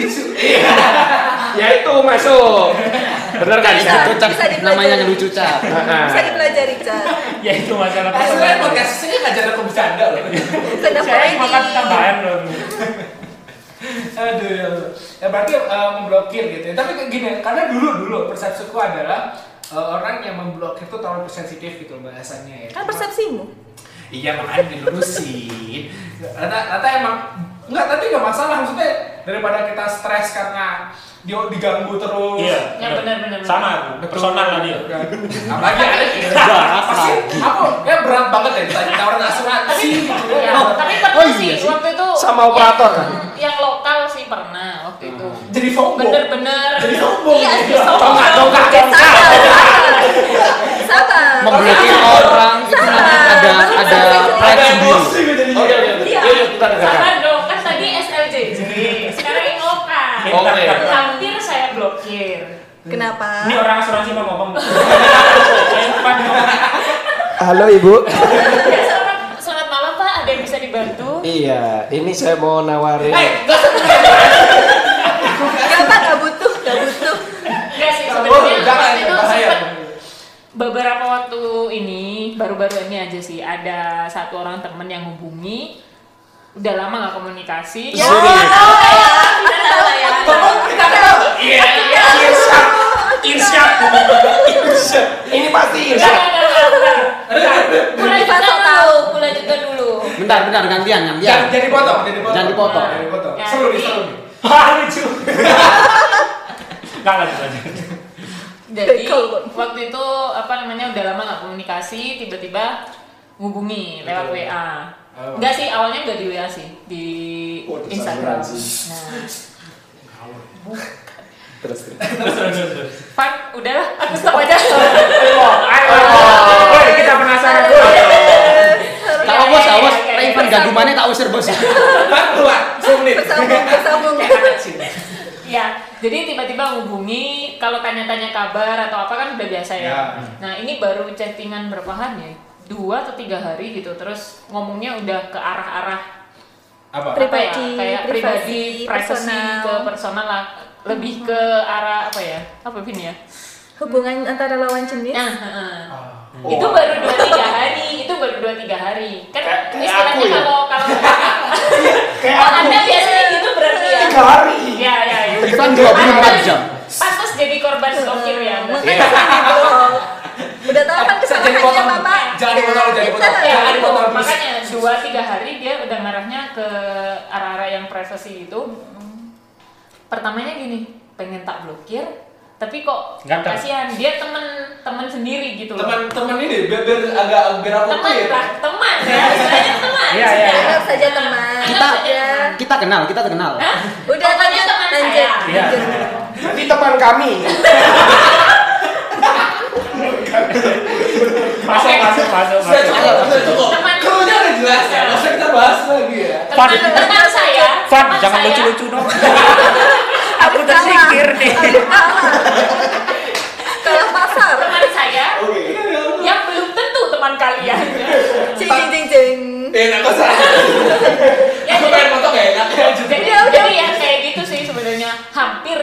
Speaker 6: Ya itu masuk. Bener kan?
Speaker 2: Bisa, bisa dipelajari.
Speaker 1: namanya ngelucu cap.
Speaker 4: Nah.
Speaker 2: Bisa dipelajari, Cat.
Speaker 4: yaitu Ya, masalah
Speaker 5: Eh, sebenarnya
Speaker 4: personal
Speaker 5: podcast ini ngajar aku bercanda loh.
Speaker 2: Stand up
Speaker 4: saya makan
Speaker 2: comedy.
Speaker 4: tambahan loh
Speaker 5: Aduh, ya Allah. ya berarti eh, memblokir gitu. ya. Tapi kayak gini, karena dulu dulu persepsiku adalah eh, orang yang memblokir itu terlalu sensitif gitu loh bahasanya ya.
Speaker 2: Kan persepsimu.
Speaker 5: Iya makanya dilurusin. Rata, rata emang enggak tapi enggak masalah maksudnya daripada kita stres karena dia diganggu terus.
Speaker 4: iya
Speaker 3: Ya, benar, benar, benar.
Speaker 4: sama
Speaker 5: Betul.
Speaker 4: personal tadi
Speaker 5: Kan. Apalagi ada apa sih? Apa? Ya berat banget ya ditanya tawaran asuransi. gitu
Speaker 3: Iya,
Speaker 5: ya.
Speaker 3: tapi pernah
Speaker 1: Oh, iya
Speaker 3: sih
Speaker 1: sih.
Speaker 3: waktu itu
Speaker 6: Sama
Speaker 3: yang-
Speaker 6: operator kan?
Speaker 3: yang lokal sih pernah waktu itu
Speaker 5: Jadi sombong.
Speaker 3: bener-bener
Speaker 5: Oh. Jadi sombong.
Speaker 2: Iya,
Speaker 5: gitu.
Speaker 3: sombong.
Speaker 4: dongkak dongkak
Speaker 2: Sabar.
Speaker 1: Memblokir orang itu namanya ada ada pride
Speaker 5: Ada
Speaker 1: sendiri.
Speaker 5: emosi gue jadi.
Speaker 6: Oke, oke, oke.
Speaker 2: Iya.
Speaker 6: Yuk, yuk, kita
Speaker 3: sama
Speaker 6: dengarkan.
Speaker 3: dong kan tadi SLJJ sekarang yang lokal
Speaker 4: Iya.
Speaker 6: Oke.
Speaker 3: hampir saya blokir
Speaker 2: Kenapa?
Speaker 4: ini orang asuransi mau ngomong Saya depan ngomong.
Speaker 6: Halo Ibu.
Speaker 3: selamat selamat malam pak ada yang bisa dibantu
Speaker 6: Iya, ini saya mau nawarin.
Speaker 5: Eh, enggak usah
Speaker 2: Gak apa, gak Ya, butuh, gak butuh.
Speaker 3: enggak sih
Speaker 5: Oh,
Speaker 3: sebenarnya
Speaker 5: jangan
Speaker 3: waktu itu
Speaker 5: bahaya.
Speaker 3: sempat beberapa waktu ini baru-baru ini aja sih ada satu orang temen yang hubungi udah lama nggak komunikasi
Speaker 2: Ya,
Speaker 6: Sorry.
Speaker 2: tahu ya.
Speaker 3: Tahu ya.
Speaker 5: Sombong kita tahu.
Speaker 4: iya iya irsyad irsyad
Speaker 6: Ini pasti
Speaker 3: Enggak, enggak, enggak, enggak. Pula
Speaker 2: Kita
Speaker 3: juga
Speaker 2: tahu.
Speaker 3: dulu, pula juga dulu.
Speaker 1: Bentar, bentar gantian, gantian.
Speaker 5: Jangan jadi potong, jadi potong.
Speaker 1: Jangan dipotong.
Speaker 5: Jangan dipotong.
Speaker 3: Ganti.
Speaker 5: Seru nih, seru nih.
Speaker 4: Wah, Ah, lucu nggak lanjut lanjut
Speaker 3: Jadi
Speaker 2: Bekel, Bang.
Speaker 3: waktu itu apa namanya udah lama nggak komunikasi, tiba-tiba ngubungi lewat
Speaker 5: Betul.
Speaker 3: WA.
Speaker 5: Oh.
Speaker 3: Enggak sih, awalnya nggak di WA sih, di
Speaker 6: Oh, di
Speaker 3: Instagram.
Speaker 6: saluran sih.
Speaker 3: Nah,
Speaker 6: Terus terus.
Speaker 4: terus terus terus
Speaker 3: Pak, udahlah, aku stop aja.
Speaker 4: ayo woi kita penasaran woi
Speaker 1: Tak
Speaker 3: Iya,
Speaker 1: awas,
Speaker 3: iya,
Speaker 1: awas.
Speaker 3: iya, iya.
Speaker 1: Raven gangguannya tak usir bos.
Speaker 5: Pak, keluar. Seru nih.
Speaker 2: Bersambung, bersambung.
Speaker 5: Kayak anak sini.
Speaker 3: Ya, jadi tiba-tiba ngubungi, kalau tanya-tanya kabar atau apa kan udah biasa ya.
Speaker 5: Ya.
Speaker 3: Nah, ini baru chattingan berapa hari ya? Dua atau tiga hari gitu, terus ngomongnya udah ke arah-arah
Speaker 5: Apa?
Speaker 2: Pri-
Speaker 3: apa ya,
Speaker 2: Pribadi,
Speaker 3: kayak pribadi,
Speaker 2: privasi,
Speaker 3: privacy
Speaker 2: personal. Mm-hmm.
Speaker 3: ke personal lah, lebih ke arah apa ya, apa Vin ya?
Speaker 2: Hubungan antara lawan jenis.
Speaker 3: Nah, heeh.
Speaker 6: Oh.
Speaker 5: Ah.
Speaker 3: itu baru dua tiga hari, itu baru dua tiga hari. Kan
Speaker 6: Kayak- kayak aku
Speaker 3: istilahnya
Speaker 6: ya.
Speaker 3: kalau kalau
Speaker 6: Kayak
Speaker 3: kalau
Speaker 6: aku. Iya,
Speaker 3: anda biasanya gitu berarti ya.
Speaker 6: Tiga hari.
Speaker 3: Ya ya. ya.
Speaker 1: Ivan
Speaker 3: Iya.
Speaker 1: 24 jam.
Speaker 3: Pantas jadi korban blokir ya. Mbak.
Speaker 2: Makanya jangan dibohong. gitu Udah tahu kan
Speaker 5: Eh, jangan
Speaker 2: kesalahannya
Speaker 5: dipotong.
Speaker 2: Bapak.
Speaker 5: Jangan dipotong, jangan
Speaker 2: Kita-
Speaker 5: dipotong.
Speaker 4: Iya,
Speaker 3: Ya,
Speaker 5: Jangan
Speaker 3: itu.
Speaker 5: dipotong terus.
Speaker 3: makanya dua tiga hari dia udah ngarahnya ke arah-arah yang privasi itu. Pertamanya gini, pengen tak blokir, tapi kok
Speaker 4: Nggak tahu.
Speaker 3: kasihan dia temen temen sendiri gitu loh.
Speaker 5: Teman-teman ini biar, biar agak biar aku
Speaker 3: teman
Speaker 5: clear.
Speaker 3: lah, teman ya, istilahnya teman.
Speaker 4: Iya, iya,
Speaker 2: Anggap saja teman.
Speaker 1: Kita
Speaker 2: Anggap saja.
Speaker 1: Kita kenal, kita kenal.
Speaker 2: Udah
Speaker 3: Pokoknya
Speaker 2: lanjut,
Speaker 3: teman
Speaker 2: lanjut.
Speaker 3: saya.
Speaker 4: Iya.
Speaker 6: Nanti teman kami.
Speaker 4: Masuk, masuk, masuk,
Speaker 5: Sudah
Speaker 4: masuk.
Speaker 5: cukup, sudah cukup.
Speaker 3: Teman-
Speaker 5: Krunya udah jelas ya, masa kita bahas lagi ya.
Speaker 4: Fan,
Speaker 3: Teman, teman saya.
Speaker 4: Fan,
Speaker 3: teman
Speaker 4: jangan
Speaker 3: saya-
Speaker 4: lucu-lucu dong. Aku tersingkir nih.
Speaker 2: Kalah pasar.
Speaker 3: Teman saya
Speaker 6: Oke.
Speaker 3: yang belum tentu teman kalian.
Speaker 2: Cing cing cing cing.
Speaker 5: Eh, nggak usah.
Speaker 3: Ya,
Speaker 5: Aku pengen potong ya, enak ya. Jadi-
Speaker 3: Jadi ya udah ya kayak gitu sih sebenarnya hampir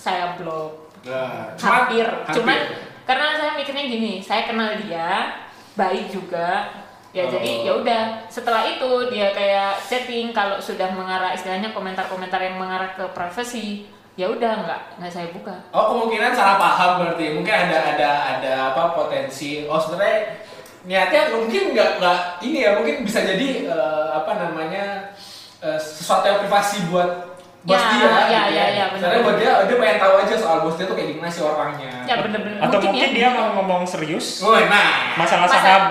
Speaker 3: saya blok.
Speaker 5: Nah, cuman-
Speaker 3: Hampir.
Speaker 5: hampir.
Speaker 3: Cuman karena saya mikirnya gini, saya kenal dia, baik juga. Ya
Speaker 5: Oh.
Speaker 3: jadi ya udah. Setelah itu dia kayak chatting kalau sudah mengarah istilahnya komentar-komentar yang mengarah ke privasi, ya udah nggak nggak saya buka.
Speaker 5: Oh kemungkinan salah paham berarti mungkin ada ada ada apa potensi oh sebenarnya niatnya mungkin nggak nggak ini ya mungkin bisa jadi eh, apa namanya eh, sesuatu yang privasi buat bos
Speaker 3: Ya,
Speaker 5: dia
Speaker 3: ya,
Speaker 5: gitu
Speaker 3: ya, ya, benar.
Speaker 5: Sebenarnya buat dia dia pengen tahu aja soal bos dia tuh kayak gimana sih orangnya.
Speaker 3: Ya bener-bener
Speaker 4: Atau mungkin dia mau ngomong serius
Speaker 5: Woi, nah.
Speaker 4: masalah
Speaker 3: Masa-
Speaker 4: saham.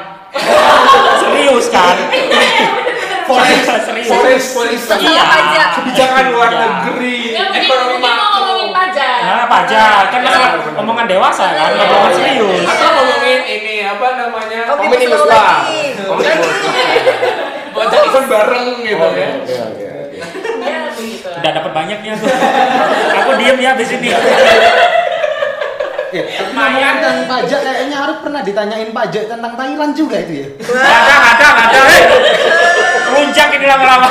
Speaker 4: serius kan?
Speaker 5: Forex,
Speaker 4: serius.
Speaker 5: forex, forex,
Speaker 2: Saham
Speaker 5: iya.
Speaker 2: aja.
Speaker 5: Kebijakan luar
Speaker 4: Iya.
Speaker 5: negeri,
Speaker 3: Ya mungkin,
Speaker 5: ekonomi
Speaker 3: mungkin mau
Speaker 5: makro.
Speaker 3: ngomongin pajak. Iya,
Speaker 4: Nah, pajak kan masalah
Speaker 5: Iya,
Speaker 4: omongan dewasa kan, nggak omongan serius.
Speaker 5: Atau ngomongin ini apa namanya?
Speaker 2: Oh, gitu.
Speaker 6: Omnibus
Speaker 2: slow
Speaker 6: Law.
Speaker 2: lagi.
Speaker 6: Omnibus
Speaker 5: Mau jadi event bareng gitu
Speaker 6: Law. Oke,
Speaker 5: ya.
Speaker 6: oke, oke, oke.
Speaker 3: Ya begitu.
Speaker 4: Udah dapat banyak ya tuh. Aku diem ya abis ini.
Speaker 1: Ya, tapi ngomongin tentang pajak kayaknya Arif pernah ditanyain pajak tentang Thailand juga itu ya.
Speaker 4: Ada, ada, ada. Hei. Melunjak ini lama-lama.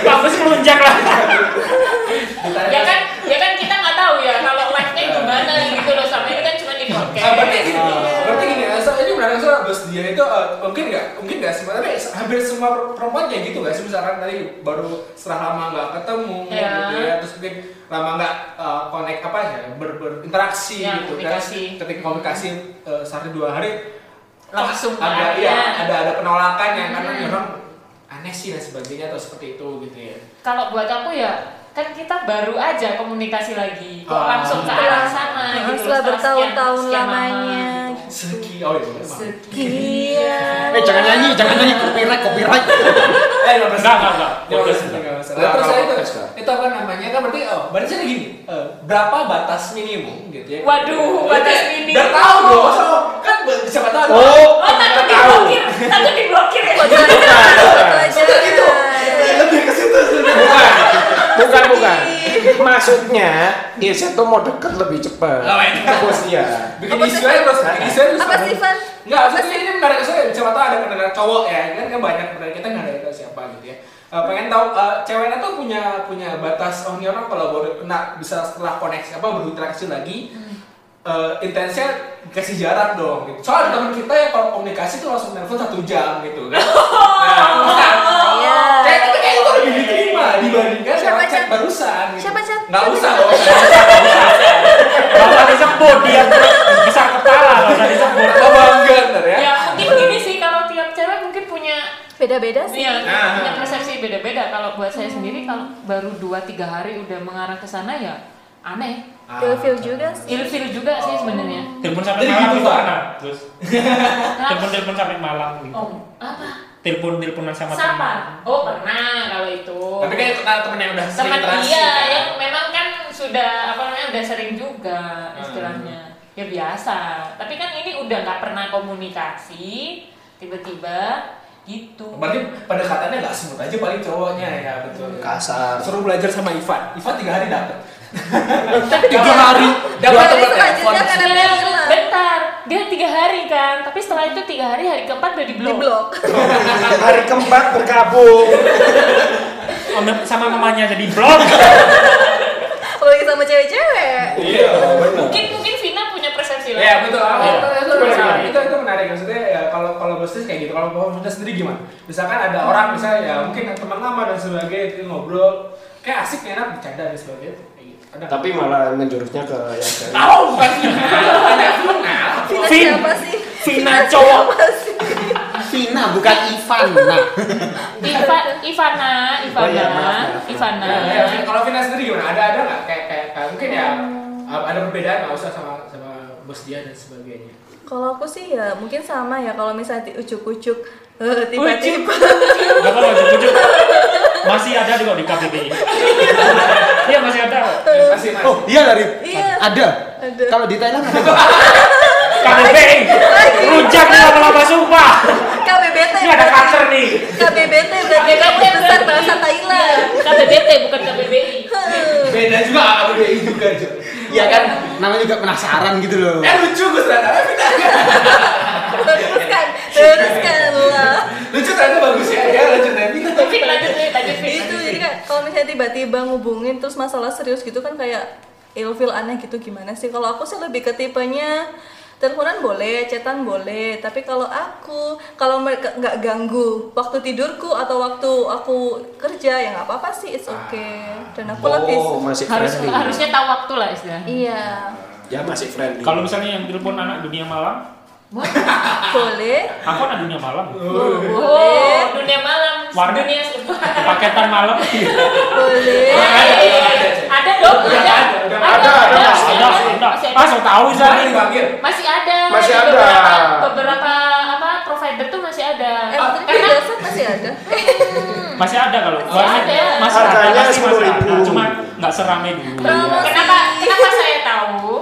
Speaker 4: Mampus melunjak lah.
Speaker 3: ya kan ya kan kita nggak tahu ya kalau live nya gimana gitu loh sama ini kan cuma di podcast
Speaker 5: Ah, berarti gini, berarti gini, eh, so, ini menarik soal bos dia itu eh, mungkin nggak, mungkin nggak sih, tapi hampir semua per- perempuan kayak gitu nggak sih, misalkan tadi baru setelah lama nggak ketemu,
Speaker 3: Iya.
Speaker 5: gitu ya, terus mungkin lama nggak eh, connect apa ya, ber- berinteraksi
Speaker 3: Iya,
Speaker 5: gitu
Speaker 3: komunikasi.
Speaker 5: kan, ketika komunikasi eh, sehari dua hari
Speaker 3: Langsung
Speaker 5: ada,
Speaker 3: marah.
Speaker 5: ya, ada ada penolakan yang karena orang aneh sih dan sebagainya atau seperti itu gitu ya.
Speaker 3: kalau buat aku ya kan kita baru aja komunikasi lagi kok
Speaker 5: Ah.
Speaker 3: langsung ke
Speaker 2: Setelah-
Speaker 3: arah sana gitu loh,
Speaker 2: Ah, Setelah bertahun-tahun
Speaker 3: sekian lama. gitu.
Speaker 2: lamanya.
Speaker 5: Seki, oh iya. emang.
Speaker 2: Sekian.
Speaker 1: Eh jangan nyanyi, jangan nyanyi copyright, copyright.
Speaker 5: Eh, nggak
Speaker 4: Enggak, enggak, enggak.
Speaker 5: Nggak
Speaker 4: Podcast,
Speaker 5: masalah,
Speaker 4: enggak.
Speaker 5: nggak masalah.
Speaker 6: Nggak
Speaker 5: Terus
Speaker 6: kalau
Speaker 5: saya itu,
Speaker 6: podcast, Kak.
Speaker 5: itu apa namanya kan berarti oh berarti saya gini eh, berapa batas minimum gitu ya?
Speaker 3: Waduh, batas minimum.
Speaker 5: Udah tahu dong, so, kan be- siapa tahu. ada-
Speaker 6: Oh,
Speaker 3: oh takut diblokir takut diblokir ya
Speaker 5: Seperti itu.
Speaker 6: Lebih ke situ sih. Bukan, bukan, bukan. Maksudnya, Irsyad tuh mau deket lebih cepat.
Speaker 5: Lah, wait.
Speaker 6: Bos dia.
Speaker 5: Bikin
Speaker 2: Apa
Speaker 5: isu
Speaker 2: sih,
Speaker 5: aja
Speaker 2: Van?
Speaker 5: terus, bikin isu aja terus.
Speaker 2: Apa sih, Van?
Speaker 5: Enggak, maksudnya ini menarik soalnya siapa tahu ada pendengar cowok ya, kan kan banyak pendengar kita nggak ada yang tahu siapa gitu ya. Eh, pengen tahu eh, ceweknya tuh punya punya batas oh ini orang kalau baru kena bisa setelah koneksi apa berinteraksi lagi eh, intensnya kasih jarak dong gitu. Soalnya ada teman kita yang kalau komunikasi tuh langsung telepon satu jam gitu kan. Nah, bukan.
Speaker 2: Iya.
Speaker 5: Kayak itu kayak itu lebih diterima dibandingkan
Speaker 2: Siapa
Speaker 5: sama chat
Speaker 2: chat?
Speaker 5: barusan gitu.
Speaker 2: Siapa chat?
Speaker 5: Nggak
Speaker 2: Siapa
Speaker 5: usah
Speaker 2: chat?
Speaker 5: nggak usah.
Speaker 4: Gak usah disebut dia besar kepala gak usah disebut.
Speaker 5: Nggak bangga ntar ya.
Speaker 3: ya mungkin gini sih kalau tiap cewek mungkin punya
Speaker 2: Beda-beda sih.
Speaker 3: ya,
Speaker 5: Nah.
Speaker 3: punya persepsi beda-beda kalau buat saya sendiri kalau baru 2-3 hari udah mengarah ke sana ya aneh
Speaker 4: Ah.
Speaker 2: Feel-feel juga sih.
Speaker 3: ilfil juga sih sebenarnya
Speaker 4: Telepon sampai
Speaker 5: Jadi
Speaker 4: malam
Speaker 5: gitu,
Speaker 4: itu
Speaker 5: Pak.
Speaker 4: pernah. Terus telepon
Speaker 3: Nah,
Speaker 4: telepon sampai malam gitu.
Speaker 3: oh apa
Speaker 4: Telepon teleponan sama
Speaker 3: Sapa?
Speaker 4: teman.
Speaker 3: Oh pernah kalau itu.
Speaker 5: Tapi kayak kenal temen yang udah sering
Speaker 3: teman
Speaker 5: interaksi,
Speaker 3: Oh. iya
Speaker 5: kan?
Speaker 3: yang memang kan sudah apa namanya udah sering juga
Speaker 5: Hmm.
Speaker 3: istilahnya. Ya biasa. Tapi kan ini udah nggak pernah komunikasi tiba-tiba gitu.
Speaker 5: Berarti pendekatannya nggak smooth aja paling cowoknya ya betul.
Speaker 6: Kasar.
Speaker 5: Suruh belajar sama Ivan. Ivan tiga hari dapet.
Speaker 3: Tapi
Speaker 5: Tiga hari
Speaker 2: Tapi
Speaker 5: ya, dapat telepon telepon.
Speaker 2: selanjutnya karena dia hilang.
Speaker 4: Eh,
Speaker 3: Bentar, dia tiga hari kan, tapi setelah itu tiga hari hari keempat udah
Speaker 2: Di
Speaker 3: diblok.
Speaker 2: blok.
Speaker 6: Hari keempat berkabung.
Speaker 4: Sama- Sama mamanya jadi blok.
Speaker 2: Apalagi sama cewek-cewek.
Speaker 6: Iya, benar.
Speaker 3: Mungkin mungkin Vina punya persepsi
Speaker 5: Iya
Speaker 3: lain.
Speaker 5: betul. Ah,
Speaker 4: Iya.
Speaker 5: itu- Itu
Speaker 4: Gimana,
Speaker 5: menarik.
Speaker 4: gimana?
Speaker 5: Itu itu menarik maksudnya ya, kalau kalau bisnis kayak gitu. Kalau pemerintah sendiri gimana? Misalkan ada orang misalnya ya mungkin teman lama dan sebagainya itu ngobrol kayak asik enak bercanda dan sebagainya. Kayak gitu. Ada nggak?
Speaker 6: Tapi malah menjurusnya ke yang dari
Speaker 5: tahu bukan Vina. Ada Vina.
Speaker 2: Vina
Speaker 4: Vin.
Speaker 2: siapa sih?
Speaker 4: Vina
Speaker 2: Vina
Speaker 4: cowok.
Speaker 2: siapa sih?
Speaker 1: Vina bukan Ivan. Nah,
Speaker 3: Iva, Ivana,
Speaker 6: Oh iya,
Speaker 3: Ivana,
Speaker 6: maaf, maaf.
Speaker 3: Ivana.
Speaker 5: Nah, ya, Vina- kalau Vina sendiri gimana? Ada ada nggak kayak kayak kayak mungkin ya
Speaker 1: Hmm.
Speaker 5: ada perbedaan nggak usah sama sama bos dia dan sebagainya.
Speaker 2: Kalau aku sih ya mungkin sama ya kalau misalnya di ujuk-ujuk eh, tiba-tiba
Speaker 4: Gak apa-apa, ujuk-ujuk. Masih ada di kok di KBBI. Iya masih ada kok.
Speaker 5: Masih masih.
Speaker 1: Oh iya dari
Speaker 2: Iya.
Speaker 1: ada.
Speaker 2: Ada.
Speaker 1: Kalau di Thailand ada.
Speaker 4: KBBI. Rujak nih lama-lama sumpah.
Speaker 2: KBBT
Speaker 4: Ini ada kanker nih.
Speaker 2: KBBT berarti kamu besar bahasa Thailand
Speaker 3: KBBT bukan KBBI.
Speaker 4: Iya.
Speaker 5: Beda juga ABBI juga. Jo.
Speaker 1: Iya kan namanya juga penasaran gitu loh.
Speaker 5: Eh lucu Gus ternyata. Eh, beda.
Speaker 2: teruskan teruskan lah
Speaker 5: Lucu ternyata bagus ya. Ya lucu nanti.
Speaker 3: Fit lanjut nih, lanjut Fit.
Speaker 2: itu jadi kan kalau misalnya tiba-tiba ngubungin terus masalah serius gitu kan kayak ilfil aneh gitu gimana sih kalau aku sih lebih ke tipenya teleponan boleh, chatan boleh, tapi kalau aku kalau mereka nggak ganggu waktu tidurku atau waktu aku kerja ya nggak apa-apa sih, it's okay. Dan aku lebih
Speaker 6: Oh, masih
Speaker 3: Harus
Speaker 6: friendly.
Speaker 3: harusnya tahu waktu lah istilahnya.
Speaker 2: iya
Speaker 6: Ya masih friendly.
Speaker 4: Kalau misalnya yang telepon anak dunia malam,
Speaker 2: boleh, oh,
Speaker 4: aku anak dunia malam.
Speaker 6: Eh.
Speaker 2: boleh,
Speaker 3: Oh, dunia malam,
Speaker 4: Warna.
Speaker 3: dunia sebuah.
Speaker 4: Paketan malam.
Speaker 2: boleh.
Speaker 3: Ada dong, ada.
Speaker 6: ada, ada,
Speaker 3: masih
Speaker 4: Ada, ada. Ah, so tahu
Speaker 5: Bangkit
Speaker 4: sih.
Speaker 5: bangkit.
Speaker 3: Masih ada.
Speaker 6: Masih
Speaker 3: Di
Speaker 6: ada.
Speaker 3: Beberapa, beberapa apa provider tuh masih ada.
Speaker 2: Eh, tapi
Speaker 3: karena
Speaker 2: biasa masih ada.
Speaker 4: Masih ada kalau.
Speaker 3: Masih ada.
Speaker 4: Masih ada.
Speaker 6: Harganya
Speaker 4: pasti masih ada.
Speaker 6: 10.000.
Speaker 4: Cuma nggak serame dulu.
Speaker 2: Promosi.
Speaker 3: kenapa kenapa saya tahu?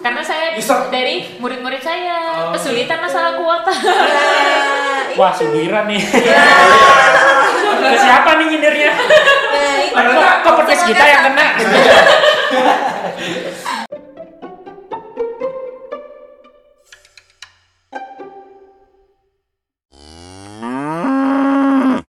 Speaker 3: Karena saya
Speaker 5: Iseng.
Speaker 3: dari murid-murid saya kesulitan masalah kuota.
Speaker 2: Nah,
Speaker 4: Wah, subiran nih.
Speaker 3: Iya.
Speaker 4: Ke siapa nih nyindirnya?
Speaker 2: Nah, itu.
Speaker 3: ya?
Speaker 4: Kok, kok petis kita yang kena?